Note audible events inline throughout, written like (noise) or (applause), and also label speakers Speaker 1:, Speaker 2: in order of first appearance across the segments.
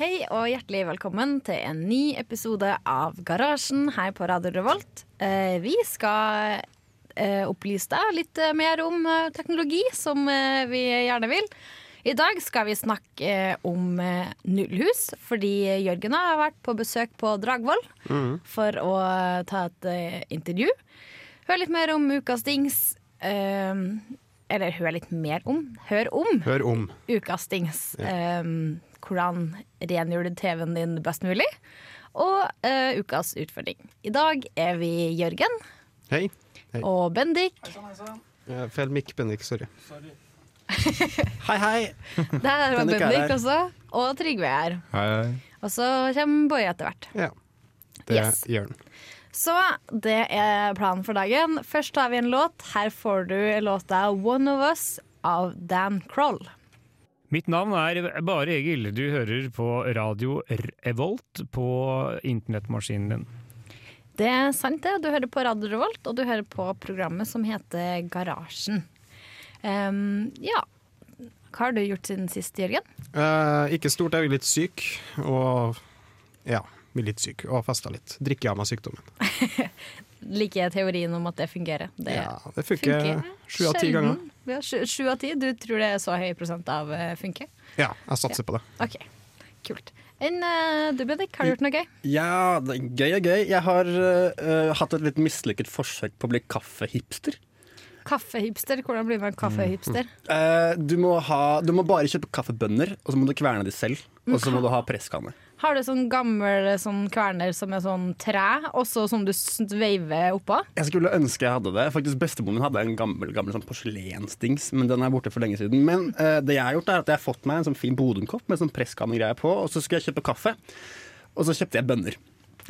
Speaker 1: Hei og hjertelig velkommen til en ny episode av Garasjen her på Radio Revolt. Eh, Vi skal eh, opplyse deg litt eh, mer om eh, teknologi, som eh, vi gjerne vil. I dag skal vi snakke eh, om eh, nullhus, fordi Jørgen og jeg har vært på besøk på Dragvoll for å ta et eh, intervju. Hør litt mer om ukas dings. eh, Eller hør litt mer om. Hør om
Speaker 2: Hør om.
Speaker 1: ukas dings. Ehm, hvordan rengjør du TV-en din best mulig? Og eh, ukas utfordring. I dag er vi Jørgen
Speaker 2: Hei. Hei.
Speaker 1: og Bendik.
Speaker 2: Eh, Feil mikk, Bendik. Sorry.
Speaker 3: Hei, hei!
Speaker 1: Der var
Speaker 3: Bendik er
Speaker 1: Bendik
Speaker 3: her.
Speaker 1: også. Og Trygve er her.
Speaker 4: Hei, hei.
Speaker 1: Og så kommer Boje etter hvert.
Speaker 2: Ja. Det
Speaker 1: Yes.
Speaker 2: gjør den.
Speaker 1: Så det er planen for dagen. Først tar vi en låt. Her får du låta 'One of Us' av Dan Kroll.
Speaker 5: Mitt navn er Bare Egil. Du hører på radio Revolt på internettmaskinen din.
Speaker 1: Det er sant det. Du hører på Radio Revolt, og du hører på programmet som heter Garasjen. Ehm, ja. Hva har du gjort siden sist, Jørgen?
Speaker 2: Eh, ikke stort, jeg er litt syk. Og ja, blir litt syk. Og festa litt. Drikker av meg sykdommen.
Speaker 1: Liker jeg teorien om at det fungerer. Det
Speaker 2: Ja, det funker sju av ti
Speaker 1: sjelden.
Speaker 2: ganger.
Speaker 1: Ja, sju, sju av ti? Du tror det er så høy prosent av eh, funker?
Speaker 2: Ja, jeg satser på det.
Speaker 1: OK, kult. Enn eh, du, Bendik, har du gjort noe gøy?
Speaker 3: Ja, det er gøy er gøy. Jeg har øh, hatt et litt mislykket forsøk på å bli kaffehipster.
Speaker 1: Kaffehipster? Hvordan blir man kaffehipster?
Speaker 2: Mm. (laughs)
Speaker 3: Eh, du, må ha, du må bare kjøpe kaffebønner, og så må du kverne de selv. Og så må du ha presskanne.
Speaker 1: Har du sånn gammel sånn kverner som er sånn tre, også som du s- veiver oppå?
Speaker 3: Jeg skulle ønske jeg hadde det. Faktisk Bestemoren min hadde en gammel gammel sånn porselensdings, men den er borte for lenge siden. Men eh, det jeg har gjort, er at jeg har fått meg en sånn fin Bodumkopp med sånn presskannegreie på, og så skulle jeg kjøpe kaffe. Og så kjøpte jeg bønner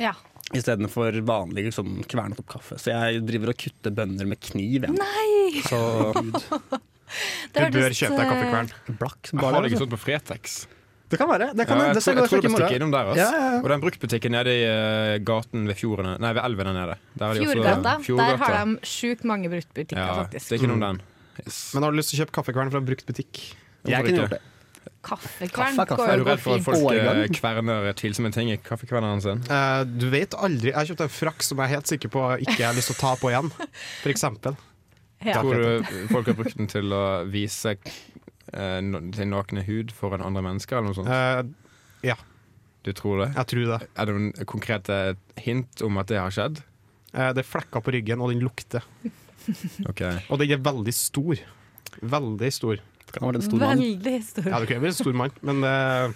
Speaker 1: Ja.
Speaker 3: istedenfor vanlig sånn kvernet opp kaffe. Så jeg driver og kutter bønner med kniv. Jeg.
Speaker 1: Nei!
Speaker 3: Så
Speaker 1: Det
Speaker 4: Du bør
Speaker 1: hørtes, eh,
Speaker 4: kjøpe deg kaffekvern.
Speaker 3: blakk som bare
Speaker 4: Har du
Speaker 3: det.
Speaker 4: ikke
Speaker 3: altså.
Speaker 4: sånt på Fretex?
Speaker 3: Det kan være. Det
Speaker 4: Ja,
Speaker 3: kan,
Speaker 4: jeg,
Speaker 3: det skal
Speaker 4: tror, jeg
Speaker 3: gå sjekke
Speaker 4: tror
Speaker 3: i
Speaker 4: du må
Speaker 3: morgen.
Speaker 4: stikke innom der. Ass.
Speaker 3: Ja, ja, ja.
Speaker 4: Og den bruktbutikken nede i eh, gaten ved fjordene Nei, ved elven der nede. Der har de også-
Speaker 1: Fjordgata. Der
Speaker 4: Fjordgata.
Speaker 1: har de sjukt mange bruktbutikker,
Speaker 4: ja, Det
Speaker 1: faktisk.
Speaker 4: er ikke noe om den. Mm. Yes.
Speaker 2: Men har du lyst til å kjøpe kaffekvern fra brukt butikk?
Speaker 3: Jeg kunne gjort det.
Speaker 1: Kaffekvern
Speaker 3: Kaffe er kaffe.
Speaker 1: går
Speaker 4: er
Speaker 1: jo
Speaker 4: du redd for at
Speaker 1: fint.
Speaker 4: folk eh,
Speaker 3: Årgang.
Speaker 4: kverner tvilsomme ting i kaffekverneren sin?
Speaker 2: Eh, du vet aldri. Jeg har kjøpt en frakk som jeg er helt sikker på ikke jeg har lyst til å ta på igjen. For eksempel.
Speaker 1: Ja.
Speaker 4: Tror du (laughs) folk har brukt den til å vise eh, no- sin nakne hud foran andre mennesker, eller noe sånt?
Speaker 2: Eh,
Speaker 4: Du tror det?
Speaker 2: jeg tror det.
Speaker 4: Er det noen konkrete hint om at det har skjedd?
Speaker 2: Eh, det er flekker på ryggen, og den lukter.
Speaker 4: Ok
Speaker 2: Og den er veldig stor. Veldig stor.
Speaker 3: Det kan være en stor mann.
Speaker 1: Veldig stor.
Speaker 2: Ja, du kunne vært en stor mann, men eh,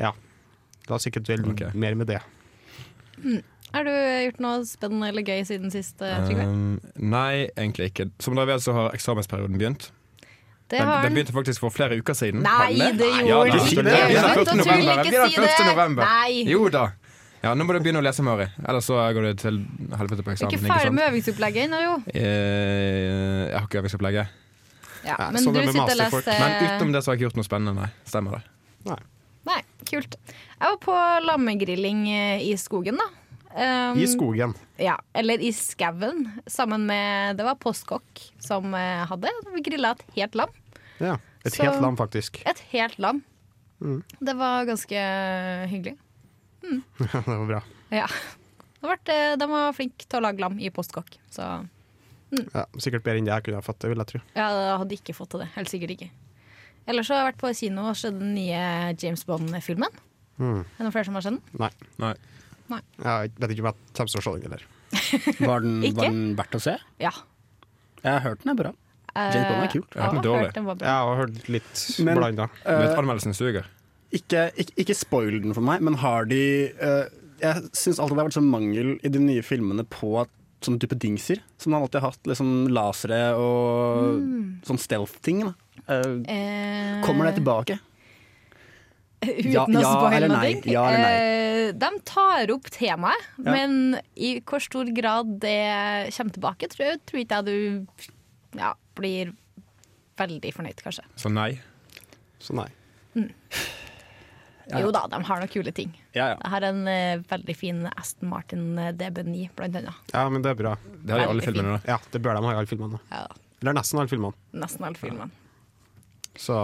Speaker 2: ja. Det har sikkert vel
Speaker 4: Ok.
Speaker 2: mer med det.
Speaker 1: Har du gjort noe spennende eller gøy siden sist, eh, Trygve?
Speaker 4: Um, nei, egentlig ikke. Som dere vet, så har eksamensperioden begynt.
Speaker 1: Det
Speaker 4: Den,
Speaker 1: har
Speaker 4: den
Speaker 1: den.
Speaker 4: begynte faktisk for flere uker siden.
Speaker 1: Nei,
Speaker 3: Nei,
Speaker 1: det
Speaker 4: ja,
Speaker 1: gjorde
Speaker 4: da,
Speaker 1: den ikke.
Speaker 4: den begynner
Speaker 1: Slutt
Speaker 4: 1.
Speaker 1: å tulle,
Speaker 4: november. Den
Speaker 1: ikke si
Speaker 4: begynner 1.
Speaker 1: det!
Speaker 4: november.
Speaker 1: Nei!
Speaker 4: Jo da. Ja, nå må du begynne å lese, Mari. Ellers så går det til helvete
Speaker 1: Du
Speaker 4: på
Speaker 1: er
Speaker 4: eksamen.
Speaker 1: ikke ferdig med øvingsopplegget ennå, jo.
Speaker 4: Eh, jeg har ikke øvingsopplegget.
Speaker 1: Ja,
Speaker 2: Ja,
Speaker 1: men
Speaker 2: sånn
Speaker 1: du
Speaker 2: er det med
Speaker 1: sitter og
Speaker 2: masterfolk.
Speaker 1: leser
Speaker 4: Men utenom det så har jeg ikke gjort noe spennende, nei. Stemmer det.
Speaker 2: Nei.
Speaker 1: Nei, kult. Jeg var på lammegrilling eh, i skogen, da. Um,
Speaker 2: I skogen.
Speaker 1: Ja, eller i skauen. Sammen med Det var postkokk som eh, hadde. Vi grilla et helt lam.
Speaker 2: Ja. Et
Speaker 1: Så-
Speaker 2: helt land, faktisk. (laughs)
Speaker 1: Et helt lam. Det var ganske hyggelig.
Speaker 2: det var bra.
Speaker 1: Ja. Det ble, de var flinke til å lage lam i postkokk. Så ja,
Speaker 2: Ja, sikkert bedre enn det jeg kunne ha fått det, vil jeg tro.
Speaker 1: jeg hadde ikke fått til det. Helt sikkert ikke. Ellers så har jeg vært på kino og sett den nye James Bond-filmen.
Speaker 2: Mm.
Speaker 1: Er det noen flere som har sett den?
Speaker 2: Nei.
Speaker 4: Nei.
Speaker 2: Jeg vet ikke om jeg kommer til å se den heller.
Speaker 3: Var den,
Speaker 1: Ikke?
Speaker 3: var den verdt å se?
Speaker 1: Ja.
Speaker 3: Jeg har hørt den er bra. James Bond er
Speaker 1: Eh,
Speaker 3: kult.
Speaker 4: Jeg har hørt den
Speaker 1: ja,
Speaker 4: dårlig.
Speaker 1: hørt den var
Speaker 2: Jeg
Speaker 1: bra.
Speaker 2: har hørt litt
Speaker 3: Men-
Speaker 2: blanda.
Speaker 4: Du vet, anmeldelsen suger.
Speaker 3: Eh, Ikke, ikke, ikke spoil den for meg, men har de eh, Jeg syns alltid det har vært sånn mangel i de nye filmene på at sånne type dingser. Som man alltid har hatt. Liksom lasere og sånn stealth-ting. da. Eh,
Speaker 1: Eh,
Speaker 3: kommer det tilbake?
Speaker 1: (laughs) Uten
Speaker 3: Ja-
Speaker 1: å
Speaker 3: ja
Speaker 1: spoile
Speaker 3: eller
Speaker 1: noe.
Speaker 3: nei? Ja eller nei?
Speaker 1: Eh, De tar opp temaet, men i hvor stor grad det kommer tilbake, tror, jeg- tror ikke jeg du ja, blir veldig fornøyd, kanskje.
Speaker 4: Så nei.
Speaker 2: Så nei.
Speaker 3: Ja.
Speaker 1: Jo da, de har noen kule ting.
Speaker 3: Ja, ja.
Speaker 1: Jeg har en eh, veldig fin Aston Martin eh, DB9, blant annet.
Speaker 2: Ja, men det er bra.
Speaker 4: Det har de i alle
Speaker 1: Veldig
Speaker 4: filmene. da
Speaker 2: Ja, det bør de ha i alle filmene.
Speaker 1: Ja,
Speaker 2: Eller nesten alle filmene.
Speaker 1: nesten alle filmene.
Speaker 2: Så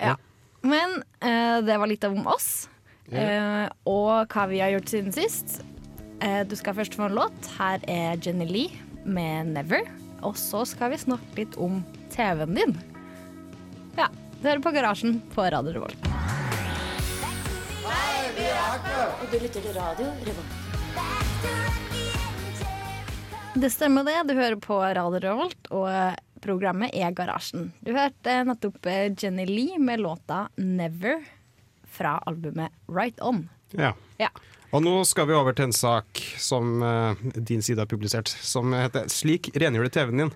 Speaker 1: Ja. Men eh, det var litt om oss. eh, og hva vi har gjort siden sist. Eh, du skal først få en låt. Her er Jenny Lee med 'Never'. Og så skal vi snakke litt om TV-en din. Ja. Du hører på Garasjen på Radio Revolt.
Speaker 6: Du lytter til radio Revolt.
Speaker 1: Det stemmer det. Du hører på Radio Revolt, og programmet er Garasjen. Du hørte nettopp eh, Jenny Lee med låta 'Never' fra albumet Right On.
Speaker 2: Ja.
Speaker 1: Ja.
Speaker 2: Og nå skal vi over til en sak som eh, din side har publisert, som heter 'Slik rengjør du TV-en din'.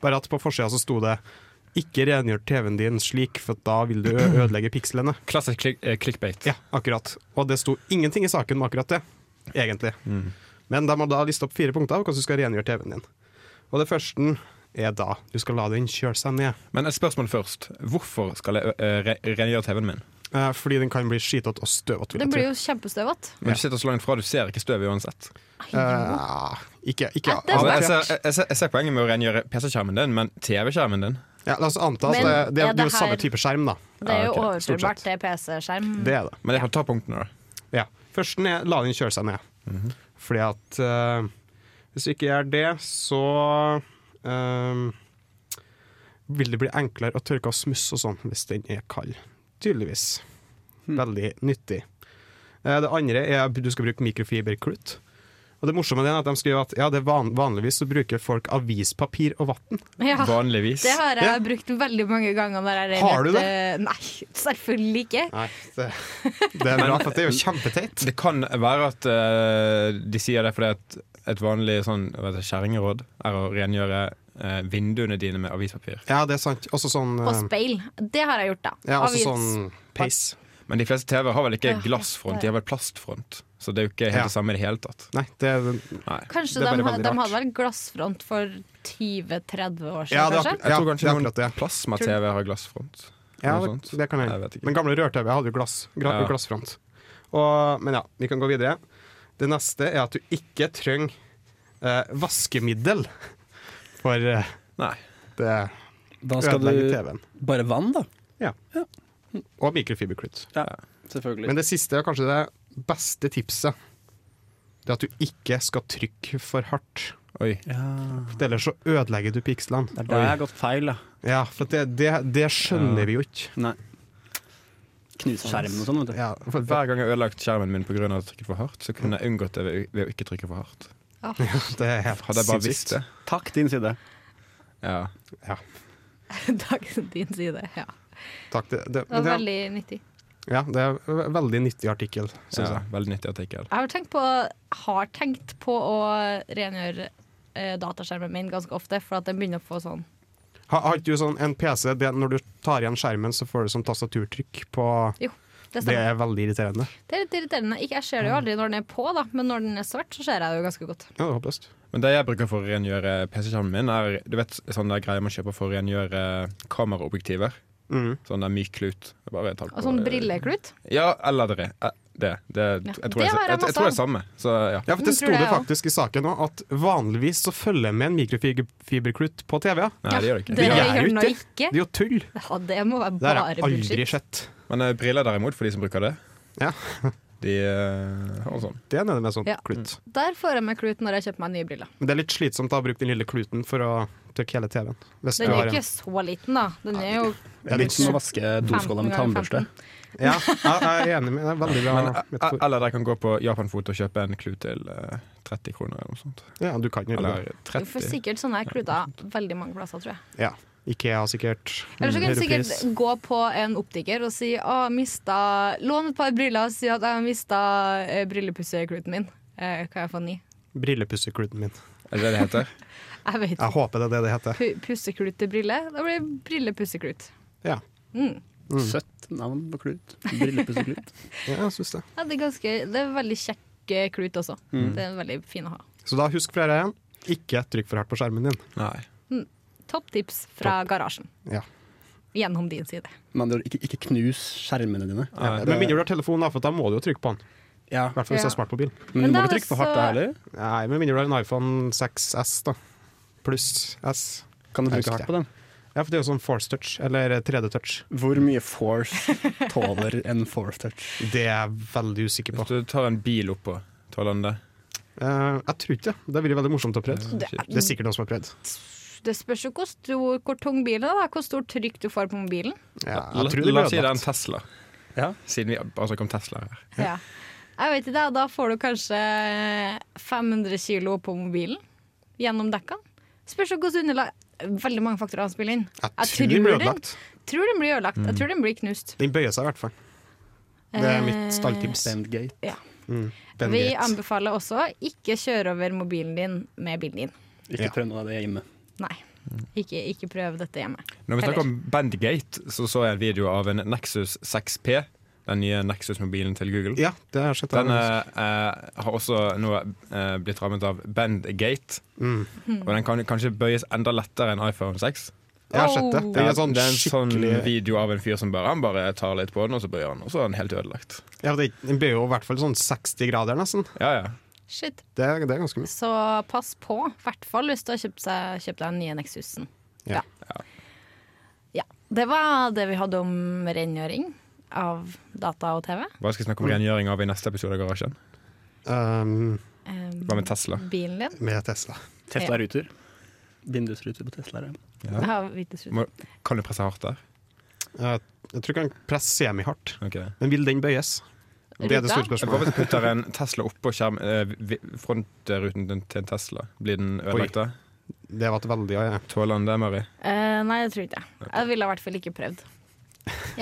Speaker 2: Bare at på forsida så sto det 'Ikke rengjør TV-en din slik, for da vil du ø- ødelegge pikslene'.
Speaker 4: Klassisk klik eh, clickbait.
Speaker 2: Ja, akkurat. Og det sto ingenting i saken om akkurat det, egentlig. Men de har da listet opp fire punkter av hvordan du skal rengjøre TV-en din. Og det første er da du skal la den kjøle seg ned.
Speaker 4: Men et spørsmål først. Hvorfor skal jeg eh, re rengjøre TV-en min?
Speaker 2: Eh, fordi den kan bli skitete og støvete. vil
Speaker 1: Det
Speaker 2: jeg
Speaker 1: blir
Speaker 2: tro.
Speaker 1: jo kjempestøvete.
Speaker 4: Men du sitter så langt fra, du ser ikke støvet uansett.
Speaker 2: Eh, ikke ikke
Speaker 1: Ja, det er
Speaker 4: Altså,
Speaker 2: av-
Speaker 4: jeg, ser, jeg, ser, jeg ser poenget med å rengjøre PC-skjermen din, men TV-skjermen din
Speaker 2: Ja, la oss anta at
Speaker 1: Men
Speaker 2: det, det,
Speaker 1: er
Speaker 2: er jo
Speaker 1: det her-
Speaker 2: samme type skjerm, da.
Speaker 1: Det er jo
Speaker 4: Ja, ok, stort
Speaker 1: overførbart til PC-skjerm.
Speaker 2: Det er det.
Speaker 4: Men jeg får ta punktene, da.
Speaker 2: Ja. Førsten er la den kjøle seg ned. Fordi at eh, hvis du ikke gjør det, så eh, vil det bli enklere å tørke av smuss og sånn hvis den er kald. Tydeligvis. Veldig nyttig. Eh, det andre er at du skal bruke mikrofiberklut. Og det morsomme er at de skriver at ja, det er van vanligvis så bruker folk avispapir og vann.
Speaker 1: (laughs) Ja,
Speaker 4: Vanligvis.
Speaker 1: det har jeg
Speaker 2: Ja.
Speaker 1: brukt veldig mange ganger. Når jeg
Speaker 2: Har du
Speaker 1: rett, eh, Nei, selvfølgelig ikke.
Speaker 2: Nei, det, det er bra, for det er jo kjempeteit.
Speaker 4: (laughs) Det kan være at eh, de sier det fordi at et vanlig sånn, hva heter det, kjerringråd er å rengjøre eh, vinduene dine med avispapir.
Speaker 2: Ja, det er sant. Også sånn
Speaker 1: Og
Speaker 2: eh,
Speaker 1: speil. Det har jeg gjort, da.
Speaker 2: Ja, også
Speaker 1: Avgifts-
Speaker 2: sånn peis.
Speaker 4: Men de fleste TV har vel ikke
Speaker 1: Ja,
Speaker 4: glassfront, de har vel plastfront. Så det er jo ikke helt
Speaker 2: Ja.
Speaker 4: det samme i det hele tatt.
Speaker 2: Nei, det er
Speaker 4: Nei.
Speaker 1: Kanskje
Speaker 2: Det er
Speaker 1: de,
Speaker 2: bare veldig
Speaker 1: de
Speaker 2: rart.
Speaker 1: hadde vel glassfront for 20-30 år siden,
Speaker 2: Ja, det er
Speaker 1: kanskje? (laughs)
Speaker 2: akkurat-
Speaker 4: Jeg tror
Speaker 2: det
Speaker 4: kanskje
Speaker 2: er
Speaker 4: noen
Speaker 2: akkurat det.
Speaker 4: plasma-TV har glassfront.
Speaker 2: Ja,
Speaker 4: Noe
Speaker 2: det,
Speaker 4: sånt.
Speaker 2: det kan
Speaker 4: Jeg
Speaker 2: jeg.
Speaker 4: vet ikke.
Speaker 2: Den gamle rør-TV hadde jo glass, gra
Speaker 4: Ja.
Speaker 2: glassfront. Og, men ja, vi kan gå videre. Det neste er at du ikke trenger eh, vaskemiddel. For eh,
Speaker 4: Nei.
Speaker 2: det
Speaker 3: Da skal
Speaker 2: ødelegger
Speaker 3: du
Speaker 2: TV-en.
Speaker 3: Bare vann, da.
Speaker 2: Og mikrofiberklut.
Speaker 3: Selvfølgelig.
Speaker 2: Men det siste er kanskje det beste tipset. Det er at du ikke skal trykke for hardt.
Speaker 4: Oi.
Speaker 2: For ellers så ødelegger du pikslene.
Speaker 3: det er der jeg har gått feil, da.
Speaker 2: Ja, for det, det, det skjønner vi jo ikke.
Speaker 3: Nei. Knuse skjermen og sånn, vet du.
Speaker 2: Ja, for
Speaker 4: Hver gang jeg har ødelagt skjermen min pga. å trykke for hardt, så kunne jeg unngått det ved, ved å ikke trykke for hardt.
Speaker 2: (laughs) det er helt
Speaker 4: Hadde jeg
Speaker 2: sinnssykt.
Speaker 4: bare visst det.
Speaker 3: Takk, din side.
Speaker 4: Ja.
Speaker 1: Dagen din side, ja.
Speaker 2: Takk, det, det,
Speaker 1: Det var
Speaker 2: det,
Speaker 1: veldig nyttig.
Speaker 2: ja, det er en veldig nyttig artikkel, syns
Speaker 4: ja.
Speaker 2: jeg.
Speaker 4: Veldig nyttig artikkel.
Speaker 1: Jeg har tenkt på, har tenkt på å rengjøre eh, dataskjermen min ganske ofte, for at den begynner å få sånn
Speaker 2: Har, har ikke du sånn en PC det, Når du tar igjen skjermen, så får du sånn tastaturtrykk på
Speaker 1: Jo, det
Speaker 2: Det
Speaker 1: stemmer.
Speaker 2: er veldig irriterende.
Speaker 1: Det er litt irriterende. Ikke, jeg ser det jo aldri når den er på, da, men når den er svart, så ser jeg det jo ganske godt.
Speaker 2: Ja, det er håpløst.
Speaker 4: Men det jeg bruker for å rengjøre PC-skjermen min, er du vet, sånne der greier man kjøper for å rengjøre eh, kameraobjektiver.
Speaker 2: Mm.
Speaker 4: Sånn der myk klut. Bare tar på-
Speaker 1: Og sånn brilleklut.
Speaker 4: Ja, eller det. eh, Det, det,
Speaker 1: Ja,
Speaker 4: jeg, tror
Speaker 1: det
Speaker 4: jeg,
Speaker 1: har jeg
Speaker 4: jeg, jeg
Speaker 1: masse
Speaker 4: tror det
Speaker 1: av.
Speaker 4: er samme. Så ja.
Speaker 2: Ja, for
Speaker 1: Men Mm,
Speaker 2: Det
Speaker 1: tror
Speaker 2: sto det
Speaker 1: jeg også.
Speaker 2: faktisk i saken òg, at vanligvis så følger med en mikrofiberklut på TV. Ja.
Speaker 4: Nei, det gjør det ikke.
Speaker 1: Det
Speaker 2: Vi er
Speaker 1: gjør
Speaker 2: jo
Speaker 1: den nå ikke.
Speaker 2: Det er jo tull!
Speaker 1: Ja, det må være
Speaker 2: Det har jeg
Speaker 1: bare
Speaker 2: aldri
Speaker 1: bullshit.
Speaker 2: sett.
Speaker 4: Men eh, briller derimot, for de som bruker det,
Speaker 2: Ja.
Speaker 4: (laughs) de eh, har en sånn.
Speaker 2: Det er nede med sånn
Speaker 1: Ja.
Speaker 2: klut.
Speaker 1: Der får jeg meg klut når jeg kjøper meg nye briller.
Speaker 2: Men det er litt slitsomt å ha brukt den lille kluten for å tørke hele TV-en. Hvis du
Speaker 1: Den er
Speaker 2: har
Speaker 1: jo
Speaker 2: en
Speaker 1: ikke så liten, da. Den er jo
Speaker 3: Det er litt som å vaske
Speaker 1: 15
Speaker 3: doskåla
Speaker 1: ganger
Speaker 3: med tannbørste.
Speaker 1: 15.
Speaker 2: Ja, jeg jeg er enig med Det er veldig bra.
Speaker 4: Men, eh,
Speaker 2: metafor.
Speaker 4: eller dere kan gå på Japanfot og kjøpe en klut til eh, 30 kroner eller noe sånt.
Speaker 2: Ja, du kan gjøre det.
Speaker 4: Eller
Speaker 1: Du får
Speaker 4: 30.
Speaker 1: sikkert sånne her kluter veldig mange plasser, tror jeg.
Speaker 2: Ja. Ikea har sikkert
Speaker 1: Eller så kan du
Speaker 2: europeisk.
Speaker 1: sikkert gå på en optiker og si å, jeg mista, lån et par briller og si at jeg har mista eh, brillepusskluten min. Eh, kan jeg få ny?
Speaker 2: Brillepussekluten min.
Speaker 4: Er det det det
Speaker 2: (laughs)
Speaker 4: heter?
Speaker 1: Jeg vet
Speaker 2: Jeg
Speaker 1: ikke.
Speaker 2: håper det er det det heter.
Speaker 1: Pu- Pusseklut til brille? Da blir det brillepusseklut.
Speaker 2: Ja,
Speaker 1: Mm.
Speaker 3: Søtt navn på klut. Brillepusseglut.
Speaker 2: ja jeg synes det.
Speaker 1: Ja, det, er ganske, det er veldig kjekk eh, klut også.
Speaker 2: Mm.
Speaker 1: Det er veldig fin å ha.
Speaker 2: Så da husk flere igjen. Ikke trykk for hardt på skjermen din.
Speaker 4: Nei.
Speaker 1: Topp tips fra garasjen.
Speaker 2: Ja.
Speaker 1: Gjennom din side.
Speaker 3: Men det er ikke, ikke knus skjermene dine.
Speaker 4: Ja,
Speaker 2: Men mindre du har telefon, da, for da må du jo trykke på den.
Speaker 3: Ja.
Speaker 2: I hvert fall hvis
Speaker 1: Ja.
Speaker 2: du er smart på bil.
Speaker 3: Men
Speaker 1: Men
Speaker 3: du
Speaker 1: da
Speaker 3: må
Speaker 1: er
Speaker 3: ikke
Speaker 1: det
Speaker 3: trykke for hardt da
Speaker 1: så-
Speaker 3: heller.
Speaker 2: Nei, med mindre du har en iPhone 6S, da. Pluss S.
Speaker 3: Kan du
Speaker 2: Jeg
Speaker 3: trykke
Speaker 2: husker
Speaker 3: hardt på den?
Speaker 2: Ja, for det er jo sånn force touch, eller 3D-touch.
Speaker 3: Hvor mye force tåler en force touch?
Speaker 2: Det er jeg veldig usikker på.
Speaker 4: Hvis du tar en bil oppå, tåler den det?
Speaker 2: Eh, jeg tror ikke det. Det ville vært veldig morsomt å prøve.
Speaker 1: Det,
Speaker 2: Det er sikkert noen som har prøvd.
Speaker 1: det spørs jo hvor, stor, hvor tung bilen er, da. hvor stort trykk du får på mobilen.
Speaker 2: Ja,
Speaker 4: La,
Speaker 2: jeg tror det
Speaker 4: la
Speaker 2: blir
Speaker 4: oss si det er en
Speaker 2: ødelagt.
Speaker 4: Tesla.
Speaker 3: Ja.
Speaker 4: Siden vi altså kom Tesla her.
Speaker 1: Ja. Jeg vet ikke, det, Da får du kanskje 500 kilo på mobilen gjennom dekkene. Spørs jo hvordan underlag Veldig mange faktorer han spiller inn.
Speaker 2: Jeg tror det blir ødelagt.
Speaker 1: Den, tror den blir ødelagt. Jeg tror den blir knust. Eh,
Speaker 2: Den bøyer seg i hvert fall. Mm. Det er mitt stalltips.
Speaker 3: Bandgate.
Speaker 2: Ben
Speaker 1: Vi
Speaker 2: Gates.
Speaker 1: anbefaler også ikke kjøre over mobilen din med bilen din.
Speaker 3: Ikke
Speaker 2: Ja.
Speaker 3: prøv noe av det hjemme.
Speaker 1: Nei.
Speaker 2: Mm.
Speaker 1: Ikke, ikke prøv dette hjemme.
Speaker 4: Når vi snakker
Speaker 1: Eller-
Speaker 4: om Bandgate, så så jeg en video av en Nexus 6P. Den nye Nexus-mobilen til Google.
Speaker 2: Ja, det har jeg sett.
Speaker 4: Den eh, eh, har også nå eh, blitt rammet av Bandgate.
Speaker 2: Mm.
Speaker 4: Og den kan kanskje bøyes enda lettere enn iPhone 6.
Speaker 2: Jeg har sett det.
Speaker 1: Oh.
Speaker 2: Det er en sånn
Speaker 4: det er en sånn
Speaker 2: skikkelig
Speaker 4: video av en fyr som bare, han bare tar litt på den, og så bøyer han, og så er den helt ødelagt.
Speaker 2: ja, det, Den bøyer jo i hvert fall sånn 60 grader, nesten.
Speaker 4: Ja, ja.
Speaker 1: Shit.
Speaker 2: Det, er- det er ganske mye.
Speaker 1: Så pass på, i hvert fall hvis du har kjøpt, seg, kjøpt deg den nye Nexusen.
Speaker 2: Ja.
Speaker 1: ja. Det var det vi hadde om rengjøring av data og TV.
Speaker 4: Hva skal vi snakke om rengjøring av i neste episode av Garasjen?
Speaker 2: Um,
Speaker 1: Um,
Speaker 4: Hva med Tesla?
Speaker 1: bilen din.
Speaker 2: med Tesla.
Speaker 3: Tesla-ruter. Vindusruter på Tesla. Ja.
Speaker 1: Jeg har hvitesrut.
Speaker 4: Må, kan du presse hardt der?
Speaker 2: Jeg, jeg tror ikke han presser semihardt.
Speaker 4: Ok.
Speaker 2: Men vil den bøyes? Det er det store
Speaker 1: Ruta?
Speaker 4: Hva hvis
Speaker 2: spørsmålet.
Speaker 4: du putter en Tesla oppå skjerm, eh, vi- frontruten din til en Tesla? Blir den ødelagt da?
Speaker 2: Det var et veldig ja, ja.
Speaker 4: Tåler den det, Mari?
Speaker 1: Eh, nei, det tror jeg ikke. Jeg ville i hvert fall ikke prøvd.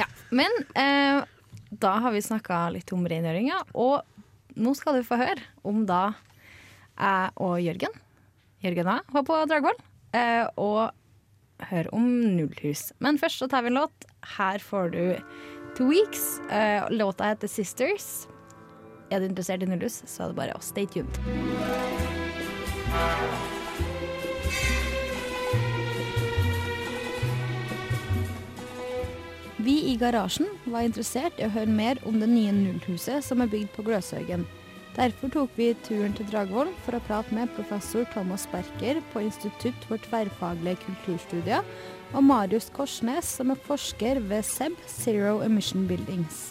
Speaker 1: Ja. Men eh, da har vi snakka litt om rengjøringa, og nå skal du få høre om da jeg og Jørgen Jørgen A var på Dragvoll, eh, og hør om Nullhus. Men først så tar vi en låt. Her får du Two Weeks. Eh, låta heter Sisters. Er du interessert i Nullhus, så er det bare å stay tuned. Vi i garasjen var interessert i å høre mer om det nye nullhuset som er bygd på Gløshaugen. Derfor tok vi turen til Dragvoll for å prate med professor Thomas Berker på Institutt for tverrfaglige kulturstudier, og Marius Korsnes, som er forsker ved SEB, Zero Emission Buildings.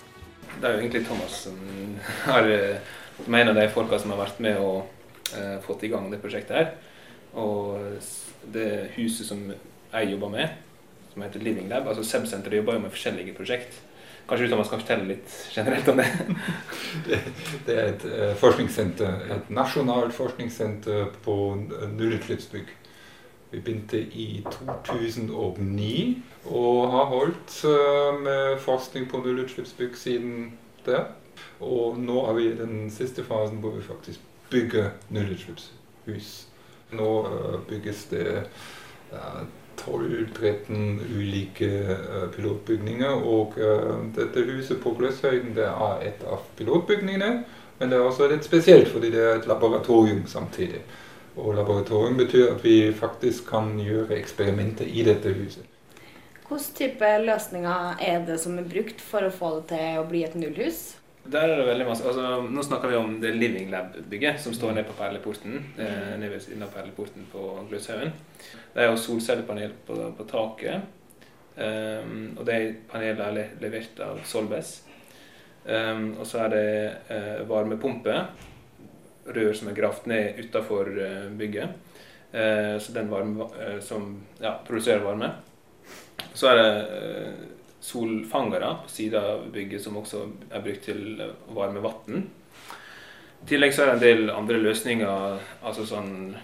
Speaker 7: Det er jo egentlig Thomas som er, eh, som er en av de folka som har vært med og eh, fått i gang det prosjektet her. Og s- det huset som jeg jobber med, som heter Living Lab, altså SEB-senteret jobber jo med forskjellige prosjekt. Kanskje du Thomas kan fortelle litt generelt om det?
Speaker 8: Det er et eh, forskningssenter, et nasjonalt forskningssenter på n- nullutslippsbygg. Vi begynte i 2009 og har holdt eh, med forskning på nullutslippsbygg siden det. Og nå er vi i den siste fasen hvor vi faktisk bygger nullutslippshus. Nå eh, bygges det eh, 12-13 ulike eh, pilotbygninger. Og eh, dette huset på Gløshøyden det er et av pilotbygningene. Men det er også litt spesielt, fordi det er et laboratorium samtidig. Og laboratorium betyr at vi faktisk kan gjøre eksperimenter i dette huset.
Speaker 1: Hvilke type løsninger er det som er brukt for å få det til å bli et nullhus?
Speaker 7: Der er det veldig masse, altså Nå snakker vi om det Living Lab-bygget som står nede på Perleporten. Eh, nede ved siden av Perleporten på Gløshaugen. Det er jo solcellepanel på, på taket. Um, og de panelene er le- levert av Solbes. Um, og så er det eh, varmepumpe. Rør som er gravd ned utafor bygget. Eh, så den varme, eh, som ja, produserer varme. Så er det eh, solfangere på sida av bygget som også er brukt til å varme vann. I tillegg så er det en del andre løsninger, altså sånn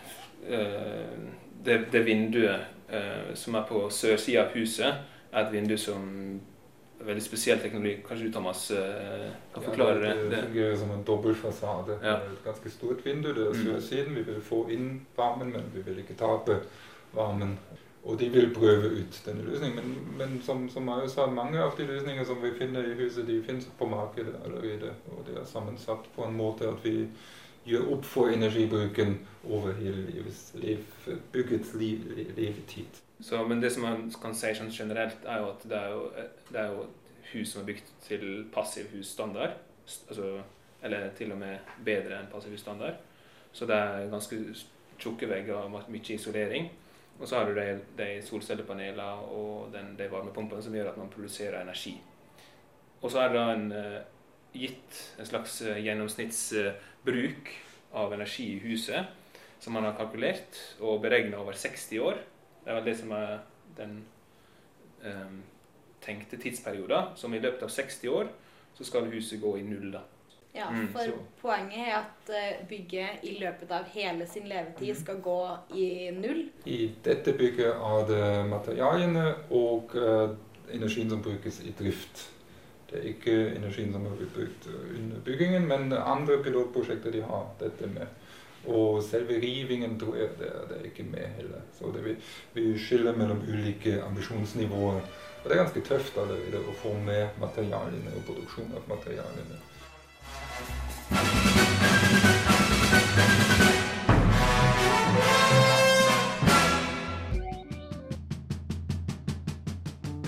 Speaker 7: eh, det, det vinduet eh, som er på sørsida av huset, er et vindu som er veldig spesiell teknologi. Kanskje du, Thomas, eh, kan forklare det?
Speaker 8: det fungerer som en dobbel fasade.
Speaker 7: Ja. Mm.
Speaker 8: Det er Et ganske stort vindu. Det er sørsiden. Vi vil få inn varmen, men vi vil ikke tape varmen. Og de vil prøve ut denne løsningen. Men, men som, som Mario sa, mange av de løsninger som vi finner i huset, de finnes på markedet allerede. Og det er sammensatt på en måte at vi gjør opp for energibruken over hele livets, liv, byggets liv, levetid.
Speaker 7: Så, men det som man kan si sånn generelt, er jo at det er jo, det er jo et hus som er bygd til passiv husstandard. S- Altså, eller til og med bedre enn passiv husstandard. Så det er ganske s- tjukke vegger og ma- mye isolering.
Speaker 9: Og så har du de, de solcellepanelene og den, de varmepumpene som gjør at man produserer energi. Og så er det da en eh, gitt en slags eh, gjennomsnittsbruk av energi i huset som man har kalkulert og beregna over 60 år. Det er vel det som er den eh, tenkte tidsperioden. Som i løpet av 60 år så skal huset gå i null, da.
Speaker 10: Ja,
Speaker 9: Mm,
Speaker 10: for
Speaker 9: så-
Speaker 10: poenget er at eh, bygget i løpet av hele sin levetid
Speaker 9: Mhm.
Speaker 10: skal gå i null.
Speaker 8: I dette bygget er det materialene og eh, energien som brukes i drift. Det er ikke energien som har blitt brukt eh, under byggingen, men andre pilotprosjekter de har dette med. Og selve rivingen tror jeg det er, det er ikke med heller. Så det vi, vi skiller mellom ulike ambisjonsnivåer. Og det er ganske tøft allerede å få med materialene og produksjon av materialene.